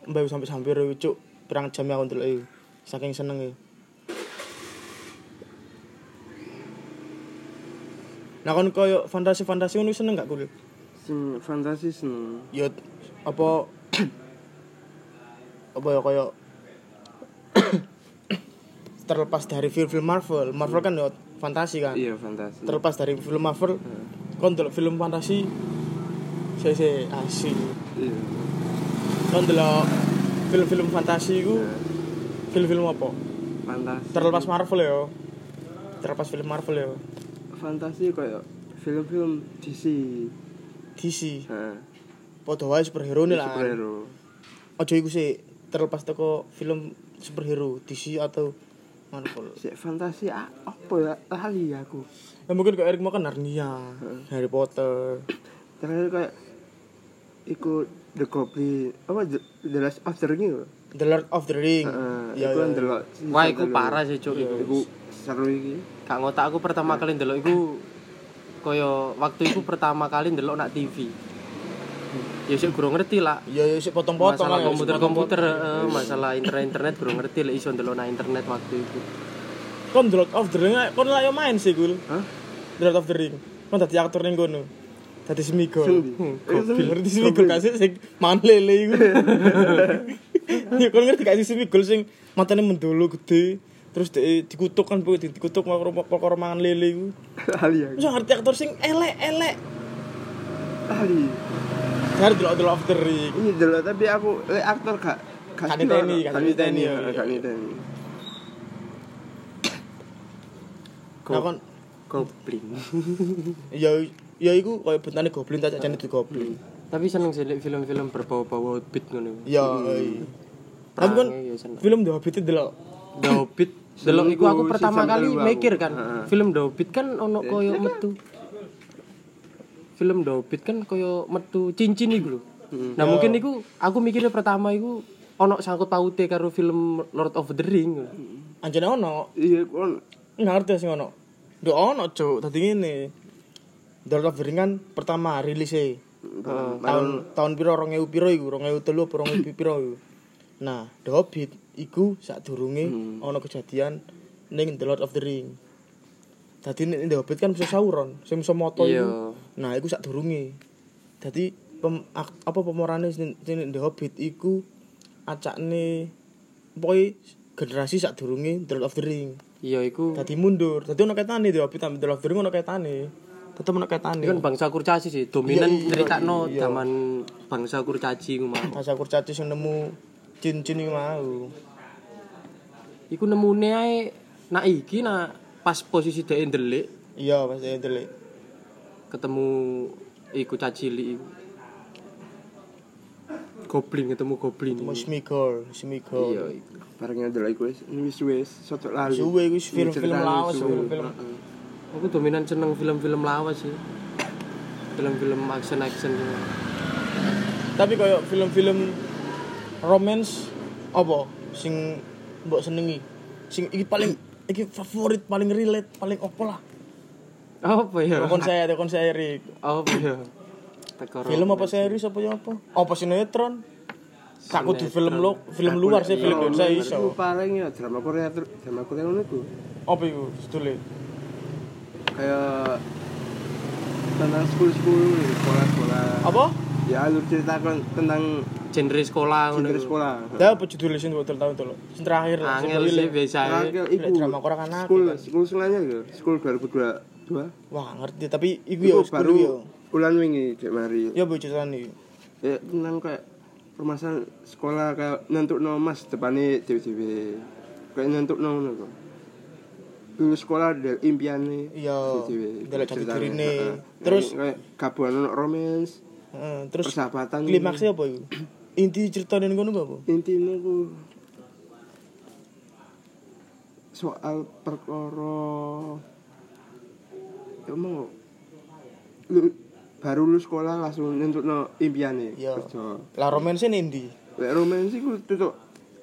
[SPEAKER 1] mbak sampai hampir cuk pirang jam aku ndelok iku saking seneng Nah kon koyo fantasi-fantasi ngono seneng gak kuwi?
[SPEAKER 2] sing fantasi seneng.
[SPEAKER 1] ya apa *clears throat* apa ya kayak *clears throat* terlepas dari film-film Marvel Marvel kan ya fantasi kan
[SPEAKER 2] Iya, fantasi.
[SPEAKER 1] terlepas dari film Marvel kon delok film fantasi saya saya asik
[SPEAKER 2] Iya.
[SPEAKER 1] kon delok film-film fantasi ku
[SPEAKER 2] Iya.
[SPEAKER 1] film-film apa
[SPEAKER 2] Fantasi.
[SPEAKER 1] terlepas Marvel ya terlepas film Marvel ya
[SPEAKER 2] fantasi kayak film-film DC.
[SPEAKER 1] DC
[SPEAKER 2] Heeh.
[SPEAKER 1] padha wae superhero nih lah
[SPEAKER 2] Iya, Superhero.
[SPEAKER 1] ojo iku sih terlepas teko film superhero DC atau Marvel
[SPEAKER 2] Sik fantasi a- apa ya? Lali aku.
[SPEAKER 1] Ya mungkin kayak Erik mau kan Narnia, Harry Potter.
[SPEAKER 2] Terakhir kayak ikut The Goblin apa The, the Last of the Ring lho.
[SPEAKER 1] The Lord of the Ring.
[SPEAKER 2] Heeh,
[SPEAKER 1] Iya,
[SPEAKER 2] iku
[SPEAKER 1] iya.
[SPEAKER 2] ndelok.
[SPEAKER 3] Wah, iku parah sih cuk iku.
[SPEAKER 2] Iku seru iki. *laughs*
[SPEAKER 3] Kak ngotak aku pertama kali ndelok iku koyo waktu iku pertama kali ndelok nak TV. Ya sik kurang ngerti lah.
[SPEAKER 1] Iya, iya, sik potong-potong ya,
[SPEAKER 3] Masalah
[SPEAKER 1] sik
[SPEAKER 3] Oh, komputer-komputer, eh, masalah internet-internet kurang ngerti lek iso ndelok nak internet waktu itu.
[SPEAKER 1] potong-potong. Kon The Lord of the Ring, kon lah yo main sih, Gul.
[SPEAKER 2] Hah?
[SPEAKER 1] The Lord of the Ring. Kon dadi aktor ning kono. Dadi semigol.
[SPEAKER 2] Sendi.
[SPEAKER 1] Gokil ngerti semigol gak sih sing mangan lele iku. Ya kon ngerti gak sih semigol sing matane mendolo gede terus dia dikutuk kan bu dikutuk mau perkara mangan lele iku.
[SPEAKER 2] Lali aku.
[SPEAKER 1] Terus ngerti aktor sing elek-elek.
[SPEAKER 2] Lali.
[SPEAKER 1] Dari delok-delok after iki.
[SPEAKER 2] Iya dulu tapi aku le aktor gak
[SPEAKER 1] Gak
[SPEAKER 2] siro,
[SPEAKER 1] niteni, gak
[SPEAKER 2] gak
[SPEAKER 1] niteni,
[SPEAKER 2] niteni,
[SPEAKER 1] iya, iya.
[SPEAKER 2] gak niteni.
[SPEAKER 1] Nah kon
[SPEAKER 3] goblin.
[SPEAKER 1] ya ya iku koyo bentane goblin tak jane di goblin.
[SPEAKER 3] Tapi seneng sih lek film-film berbau-bau outfit ngono.
[SPEAKER 1] Ya. iya. Tapi kan
[SPEAKER 3] Perangnya ya seneng.
[SPEAKER 1] film The Hobbit itu delok
[SPEAKER 3] The Hobbit delok iku aku
[SPEAKER 2] Seminggu,
[SPEAKER 3] pertama
[SPEAKER 2] sejam
[SPEAKER 3] kali
[SPEAKER 2] telu aku.
[SPEAKER 3] mikir kan
[SPEAKER 2] Heeh.
[SPEAKER 3] film The Hobbit kan ono koyo metu film The Hobbit kan koyo metu cincin iku lho nah mungkin iku aku mikirnya pertama iku ono sangkut paute karo film Lord of the Ring lho.
[SPEAKER 1] anjene ono
[SPEAKER 2] Iya kon
[SPEAKER 1] ngerti sing ono Duh ono cuk tadi ngene The Lord of the Ring kan pertama rilis e tahun tahun piro 2000 piro iku 2003 apa 2000 piro iku nah The Hobbit iku sadurunge ono kejadian ning The Lord of the Ring Tadi nek The Hobbit kan bisa Sauron, sing bisa moto iku.
[SPEAKER 3] Iya.
[SPEAKER 1] Nah, iku sadurunge. Dadi pem, ak, apa pemerane sing sing The Hobbit iku acakne poi generasi sadurunge The Lord of the Ring.
[SPEAKER 3] iya iku
[SPEAKER 1] Dadi mundur. Dadi ono kaitane The Hobbit ambek The Lord of the Ring ono kaitane. Tetep ono kaitane.
[SPEAKER 3] ini kan bangsa kurcaci sih dominan ceritakno zaman bangsa kurcaci ku mau
[SPEAKER 1] Masa kurcaci sing nemu cincin iku mau.
[SPEAKER 3] iku nemune ae nak iki nak pas posisi dhek ndelik
[SPEAKER 1] Iya, pasti delik.
[SPEAKER 3] ketemu iku cacili iku. Goblin ketemu goblin.
[SPEAKER 1] Mau Smigol, Smigol.
[SPEAKER 3] Iya iku.
[SPEAKER 2] barengnya dulu iku wis wis wis sotok lali.
[SPEAKER 1] Suwe iku film-film
[SPEAKER 2] Ceritanya
[SPEAKER 1] lawas,
[SPEAKER 2] suwe.
[SPEAKER 1] film-film
[SPEAKER 3] Aku dominan seneng film-film lawas sih. Film-film action action gitu.
[SPEAKER 1] tapi kayak film-film romance apa sing mbok senengi sing iki paling iki favorit paling relate paling opo lah
[SPEAKER 3] Apa ya?
[SPEAKER 1] kon saya kon saya Rik.
[SPEAKER 3] Apa ya? Tekor.
[SPEAKER 1] film apa series apa ya apa apa sinetron tak kudu film lo film luar sih film Indonesia
[SPEAKER 2] Iku
[SPEAKER 1] iso
[SPEAKER 2] paling ya drama Korea ter- drama Korea ngono iku.
[SPEAKER 1] apa iku sedule
[SPEAKER 2] Kayak tentang sekolah-sekolah, gitu, sekolah-sekolah.
[SPEAKER 1] apa
[SPEAKER 2] Ya alur cerita kon- tentang
[SPEAKER 3] genre sekolah ngono.
[SPEAKER 2] genre
[SPEAKER 3] iku.
[SPEAKER 2] sekolah.
[SPEAKER 1] dah apa judulnya sih buat tahun tuh sing terakhir lah sing
[SPEAKER 3] Angel sih
[SPEAKER 1] relate.
[SPEAKER 3] biasa. ae.
[SPEAKER 2] Terakhir iku
[SPEAKER 1] drama Korea kan aku,
[SPEAKER 2] School, school sengaja gitu. School 2022.
[SPEAKER 1] wah ngerti tapi iku ya
[SPEAKER 2] Iku
[SPEAKER 1] baru yo
[SPEAKER 2] baru bulan wingi Cek Mari.
[SPEAKER 1] ya bocoran ceritane iki.
[SPEAKER 2] ya tenang kayak permasalahan sekolah kayak nentuk no mas depannya dewi-dewi kayak nentuk no no kok dulu sekolah ada impiannya
[SPEAKER 1] Iya,
[SPEAKER 2] dewi-dewi.
[SPEAKER 1] ndelok jati
[SPEAKER 2] Ceritanya,
[SPEAKER 1] dirine.
[SPEAKER 2] heeh.
[SPEAKER 1] Terus?
[SPEAKER 2] Kayak- kayak gabungan no romance
[SPEAKER 1] Heeh, terus
[SPEAKER 2] persahabatan
[SPEAKER 1] klimaksnya apa iku inti ceritanya ngono apa
[SPEAKER 2] intinya ku soal perkoro ya mau lu baru lu sekolah langsung nentuk no impiannya
[SPEAKER 1] Iya.
[SPEAKER 2] kerja
[SPEAKER 1] Lah romance ini ndi?
[SPEAKER 2] Lek romance iku tutup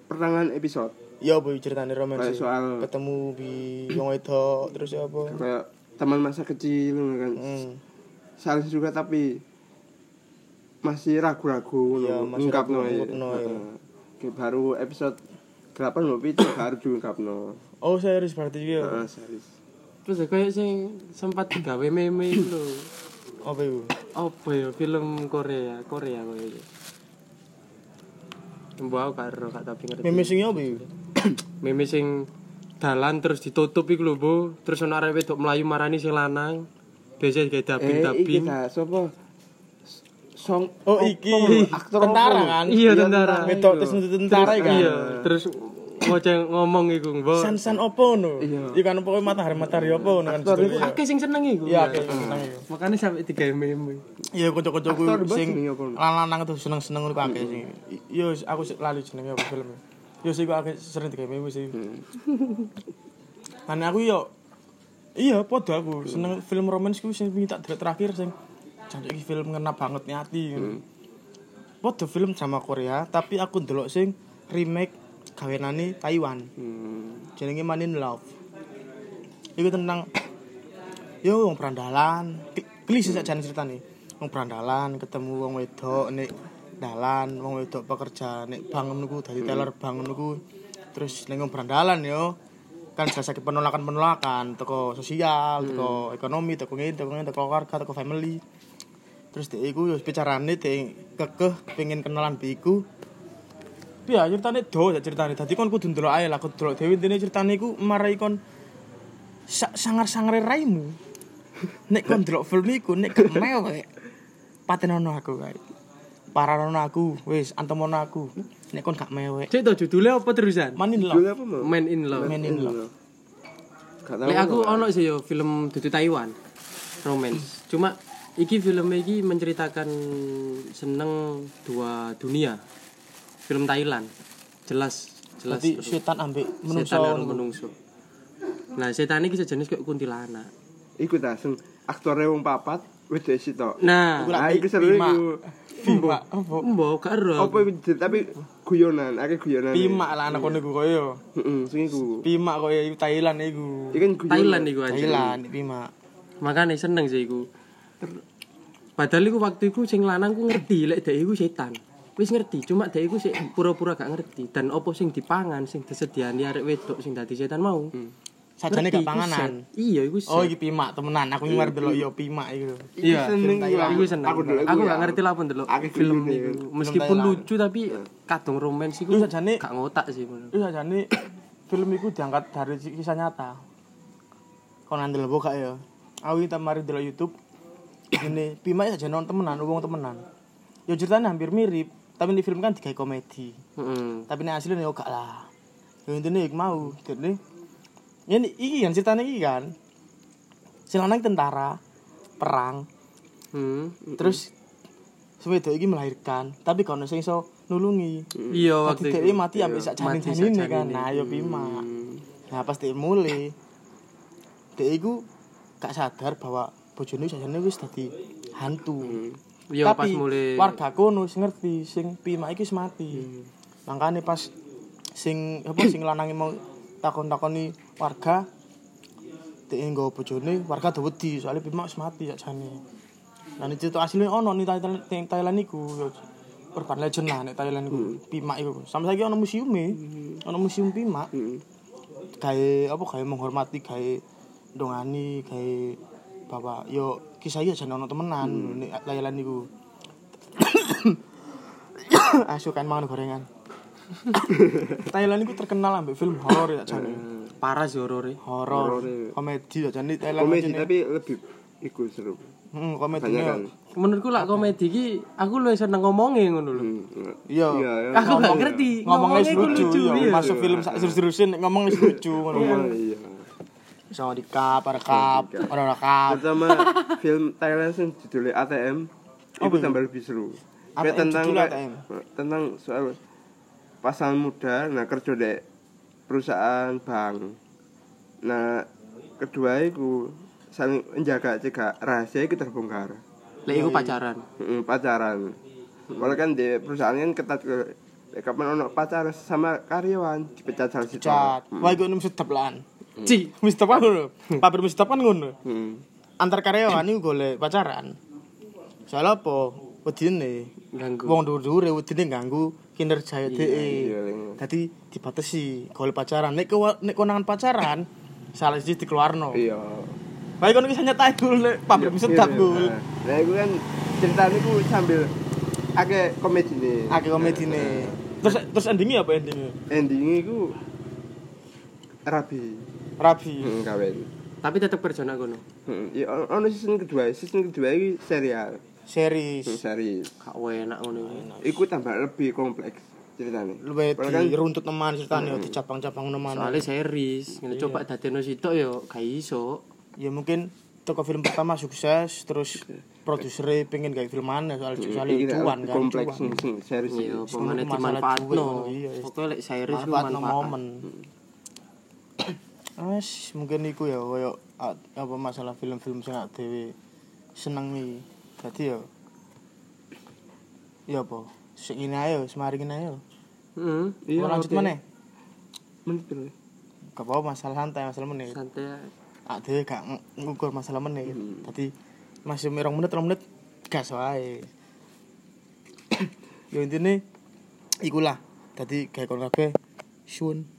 [SPEAKER 2] pertengahan episode.
[SPEAKER 1] Ya boy ceritanya romance.
[SPEAKER 2] Kayak soal
[SPEAKER 1] ketemu bi wong wedok terus ya apa?
[SPEAKER 2] kayak teman masa kecil ngono kan.
[SPEAKER 1] Hmm.
[SPEAKER 2] Saling suka tapi masih ragu-ragu
[SPEAKER 1] Iya,
[SPEAKER 2] ngono.
[SPEAKER 1] masih
[SPEAKER 2] Ngungkapno ya.
[SPEAKER 1] ragu-ngungkapno, iya.
[SPEAKER 2] Heeh. Kayak baru episode 8 mau pito baru diungkapno.
[SPEAKER 1] Oh serius berarti iki ya.
[SPEAKER 2] Heeh, serius.
[SPEAKER 3] Terus kayak sing sempat gawe meme itu lho.
[SPEAKER 1] Apa iku?
[SPEAKER 3] Apa ya film Korea, Korea koyo iki. Mbok aku karo gak tapi ngerti.
[SPEAKER 1] Meme sing apa iku?
[SPEAKER 3] meme sing dalan terus ditutup iku lho, Bu. Terus ana arek wedok Melayu marani sing lanang. Biasa kayak
[SPEAKER 2] Eh, iki
[SPEAKER 3] dabing-dabing.
[SPEAKER 2] ta sapa? S- Song
[SPEAKER 1] Oh
[SPEAKER 2] apa
[SPEAKER 1] iki
[SPEAKER 2] lho, aktor
[SPEAKER 1] tentara
[SPEAKER 2] apa lho?
[SPEAKER 1] kan?
[SPEAKER 3] Iya, tentara.
[SPEAKER 1] Wedok terus nuntut tentara iki kan.
[SPEAKER 3] Iya, terus ngoceng ngomong iku, Mbok.
[SPEAKER 1] San-san opo no?
[SPEAKER 2] Iya.
[SPEAKER 1] Iya kan pokoknya matahari-matahari opo no kan
[SPEAKER 2] Aktor
[SPEAKER 1] judulnya.
[SPEAKER 3] Akeh sing seneng iku.
[SPEAKER 1] Iya, oke, seneng iku.
[SPEAKER 3] Makane sampe tiga meme.
[SPEAKER 1] Iya, kocok-kocokku
[SPEAKER 2] Aktor bos
[SPEAKER 1] sing
[SPEAKER 2] jenenge apa?
[SPEAKER 1] lanang tuh seneng-seneng ngono akeh sing. Yo aku sih lali jenenge apa filmnya. Yo sih aku akeh sering digawe meme sih. *laughs* Kan aku yo Iya, padha aku seneng film romance ku sing wingi tak delok terakhir sing jancuk iki film ngena banget nih ati. Padha film sama Korea, tapi aku ndelok sing remake gawenane Taiwan. Jenenge Man in Love. Iku tentang yo wong perandalan klise sak jane ceritane wong perandalan ketemu wong wedok nek dalan wong wedok pekerja nek bang niku dadi teller bang niku terus ning wong perandalan yo kan jasa penolakan-penolakan teko sosial, teko ekonomi, teko ngene, teko ngene, teko keluarga, teko family. terus dia iku wis bicarane dia kekeh pengen kenalan biku ya ceritane do ya ceritane dadi kon kudu ndelok ae lah kudu ndelok dhewe intine ceritane iku marai kon sa sangar-sangare raimu nek kon ndelok film iku nek gak mewek patenono aku kae paranono aku wis antemono aku nek kon gak mewek
[SPEAKER 3] Cek to judulnya apa terusan?
[SPEAKER 1] manin lah
[SPEAKER 2] Judulnya apa mau?
[SPEAKER 3] Man in Love.
[SPEAKER 1] Man in Love.
[SPEAKER 2] Gak tahu.
[SPEAKER 3] Lek aku
[SPEAKER 2] Pak.
[SPEAKER 3] ono sih yo film Dudu Taiwan. Romance. Cuma iki film iki menceritakan seneng dua dunia. Film Thailand. Jelas jelas.
[SPEAKER 1] dadi setan ambek menungso
[SPEAKER 3] setan karo menungso. Nah, setan iki sejenis kayak kuntilanak.
[SPEAKER 2] Iku ta sing aktore wong papat wis dek sitok.
[SPEAKER 3] Nah,
[SPEAKER 2] Ah iku seru
[SPEAKER 1] Bima.
[SPEAKER 2] iku.
[SPEAKER 1] Bima apa
[SPEAKER 3] mbok gak ero
[SPEAKER 2] Apa iku
[SPEAKER 3] aku.
[SPEAKER 2] jen- tapi guyonan, akeh guyonan.
[SPEAKER 1] Pimak lah anak kono iku koyo.
[SPEAKER 2] Heeh, sing iku.
[SPEAKER 1] Pimak koyo iku Thailand iku.
[SPEAKER 2] Iki kan guyonan.
[SPEAKER 3] Thailand iku aja.
[SPEAKER 1] Thailand pimak.
[SPEAKER 3] Makane seneng sih iku. Ter- Padahal iku waktu iku sing lanang ku ngerti lek dhek iku setan. Wis ngerti, cuma dhek iku sik pura-pura gak ngerti dan opo sing dipangan sing disediani arek wedok sing dadi setan mau.
[SPEAKER 2] Hmm.
[SPEAKER 1] Sajane gak
[SPEAKER 3] Ngerti, iku
[SPEAKER 1] panganan.
[SPEAKER 3] set. Iya, iku set.
[SPEAKER 1] Oh iki pimak temenan aku ngarep delok yo pimak iku.
[SPEAKER 2] Iki
[SPEAKER 3] Iya,
[SPEAKER 2] seneng
[SPEAKER 1] film
[SPEAKER 2] iku.
[SPEAKER 1] Thailand.
[SPEAKER 3] Iku seneng.
[SPEAKER 2] Aku
[SPEAKER 3] Aku,
[SPEAKER 2] dulu
[SPEAKER 3] aku gak ngerti lah pun delok
[SPEAKER 2] Aku
[SPEAKER 3] film
[SPEAKER 2] guyonan
[SPEAKER 3] iku.
[SPEAKER 2] iku.
[SPEAKER 3] Meskipun
[SPEAKER 1] Thailand.
[SPEAKER 3] lucu tapi kadung romans iku
[SPEAKER 1] Lu sajane
[SPEAKER 3] gak ngotak sih menurut.
[SPEAKER 1] lu sajane film iku diangkat dari si- kisah nyata. Kon andel apa gak ya? Aku kita mari delok YouTube. Ini pimak saja non temenan, wong temenan. Yo ceritanya hampir mirip, tapi di film kan digawe komedi.
[SPEAKER 3] Heeh.
[SPEAKER 1] tapi nek asline yo gak lah yo intine iku mau dene ini iki kan ceritane iki kan si lanang tentara perang
[SPEAKER 3] Hmm.
[SPEAKER 1] terus sewedo iki melahirkan tapi kono sing iso nulungi
[SPEAKER 3] Iya
[SPEAKER 1] Dadi
[SPEAKER 3] waktu itu. iya,
[SPEAKER 1] dhewe mati ambek sak
[SPEAKER 3] Mati sak Mm.
[SPEAKER 1] janin-janine kan
[SPEAKER 3] janine.
[SPEAKER 1] nah yo pima nah pas dhek mule dhek iku gak sadar bahwa bojone jajane wis dadi hantu
[SPEAKER 3] Iya pas
[SPEAKER 1] tapi
[SPEAKER 3] mulai
[SPEAKER 1] warga kono wis ngerti sing pima iki wis mati
[SPEAKER 3] Hmm.
[SPEAKER 1] makanya pas sing apa sing lanange mau takon-takoni warga dhek nggo bojone warga do wedi soalnya pima wis mati sakjane lan iki cerita asline ono nih Thailand ning Thailand iku ya, urban legend lah nek Thailand iku
[SPEAKER 3] Hmm.
[SPEAKER 1] pima iku sampe saiki ono museume ono museum pima gawe apa gawe menghormati gawe dongani gawe bapak yo kisah iki jane ono temenan nek Thailand *coughs* iku asu kan mangan gorengan Thailand itu terkenal ambek film horor ya jane.
[SPEAKER 3] parah sih horore.
[SPEAKER 1] Horor,
[SPEAKER 2] Horor.
[SPEAKER 1] komedi ya jane Thailand.
[SPEAKER 2] Komedi
[SPEAKER 1] jane.
[SPEAKER 2] tapi lebih iku seru.
[SPEAKER 1] Heeh, komedi. ya.
[SPEAKER 2] Banyak kan.
[SPEAKER 3] Menurutku lah komedi iki aku luwih seneng ngomongnya ngono lho.
[SPEAKER 1] Iya.
[SPEAKER 2] Mm, Iya, iya.
[SPEAKER 1] Hmm.
[SPEAKER 3] Aku
[SPEAKER 1] Ngomong-
[SPEAKER 3] gak ngerti.
[SPEAKER 1] Ngomongnya
[SPEAKER 3] Ngomongnya
[SPEAKER 1] wis
[SPEAKER 3] ku
[SPEAKER 1] lucu,
[SPEAKER 3] lucu,
[SPEAKER 1] iya.
[SPEAKER 3] iya.
[SPEAKER 1] Masuk film sak seru-serusin ngomongnya wis lucu
[SPEAKER 2] Oh,
[SPEAKER 1] ngono.
[SPEAKER 2] iya.
[SPEAKER 1] Sama di kap, ada kap, ada kap.
[SPEAKER 2] Pertama film Thailand sing judulnya ATM
[SPEAKER 1] Oh,
[SPEAKER 2] itu tambah lebih seru.
[SPEAKER 1] ATM
[SPEAKER 2] Kayak tentang
[SPEAKER 1] judulnya
[SPEAKER 2] kayak-
[SPEAKER 1] ATM.
[SPEAKER 2] tentang soal pasangan muda nah kerja di perusahaan bank. Nah, kedua itu saling menjaga cegah rahasia itu terbongkar.
[SPEAKER 3] Lek iku pacaran.
[SPEAKER 2] Mm, pacaran. Walau kan di perusahaan kan ketat ke Lek kapan ono pacaran sama karyawan dipecat salah satu.
[SPEAKER 1] Cat. Wah, iku nem sedep lan.
[SPEAKER 2] Hmm.
[SPEAKER 3] Ci.
[SPEAKER 1] Mesti apa ngono? Paper mesti apa ngono?
[SPEAKER 2] Heeh.
[SPEAKER 1] Antar karyawan iku golek pacaran. Soal apa? Wedine.
[SPEAKER 3] Ganggu.
[SPEAKER 1] Wong dhuwur-dhuwure wedine ganggu kinerja dhek.
[SPEAKER 2] iya, iya.
[SPEAKER 1] Dadi dibatasi golek pacaran. Nek kewa- nek konangan pacaran salah siji dikeluarno.
[SPEAKER 2] Iya.
[SPEAKER 1] Baik kono bisa nyetai dulu lek pabrik mesti sedap dulu.
[SPEAKER 2] Nah, iku kan ceritanya iku sambil akeh komedi nih.
[SPEAKER 1] Akeh komedine. Terus terus endingnya apa endingnya?
[SPEAKER 2] Endingnya iku rabi.
[SPEAKER 1] Rabi.
[SPEAKER 2] Heeh, kawin.
[SPEAKER 3] Tapi tetep kerjana ngono.
[SPEAKER 2] Heeh. Ya on- ono season kedua, season kedua iki serial, Hmm,
[SPEAKER 1] Series.
[SPEAKER 2] series.
[SPEAKER 3] Gak enak ngono iki.
[SPEAKER 2] Iku tambah lebih kompleks ceritanya.
[SPEAKER 1] Luwe
[SPEAKER 2] Walau kan
[SPEAKER 1] diruntut teman ceritane di cabang-cabang teman.
[SPEAKER 3] Soalnya series, ngene coba dadeno sitok yo gak iso.
[SPEAKER 1] Ya mungkin toko film pertama sukses terus produsernya pengen gawe film mana soal soal
[SPEAKER 2] iki lah,
[SPEAKER 1] cuan kan.
[SPEAKER 2] Iya, kompleks
[SPEAKER 1] cuan.
[SPEAKER 2] sing sing series. iki.
[SPEAKER 3] Yo pemane
[SPEAKER 1] masalah
[SPEAKER 3] dimanfaatno.
[SPEAKER 1] duit, iya.
[SPEAKER 3] Pokoke lek series ku
[SPEAKER 1] Manfaat no
[SPEAKER 3] manfaat.
[SPEAKER 1] momen. *coughs* Wes mungkin iku ya koyo a- apa masalah film-film sing awake dhewe senengi. Dadi ya ya apa? Sing ini ayo, semari ini ayo.
[SPEAKER 3] Heeh.
[SPEAKER 2] Iya,
[SPEAKER 1] Mau lanjut
[SPEAKER 2] oke.
[SPEAKER 1] meneh.
[SPEAKER 2] Menit piro?
[SPEAKER 1] Gak apa masalah santai, masalah menit.
[SPEAKER 3] Santai. ae.
[SPEAKER 1] Awake dhewe gak ng- ngukur masalah menit. Dadi masih merong menit, rong menit gas wae. *coughs* ya intine ikulah dadi gawe kon kabeh suwun.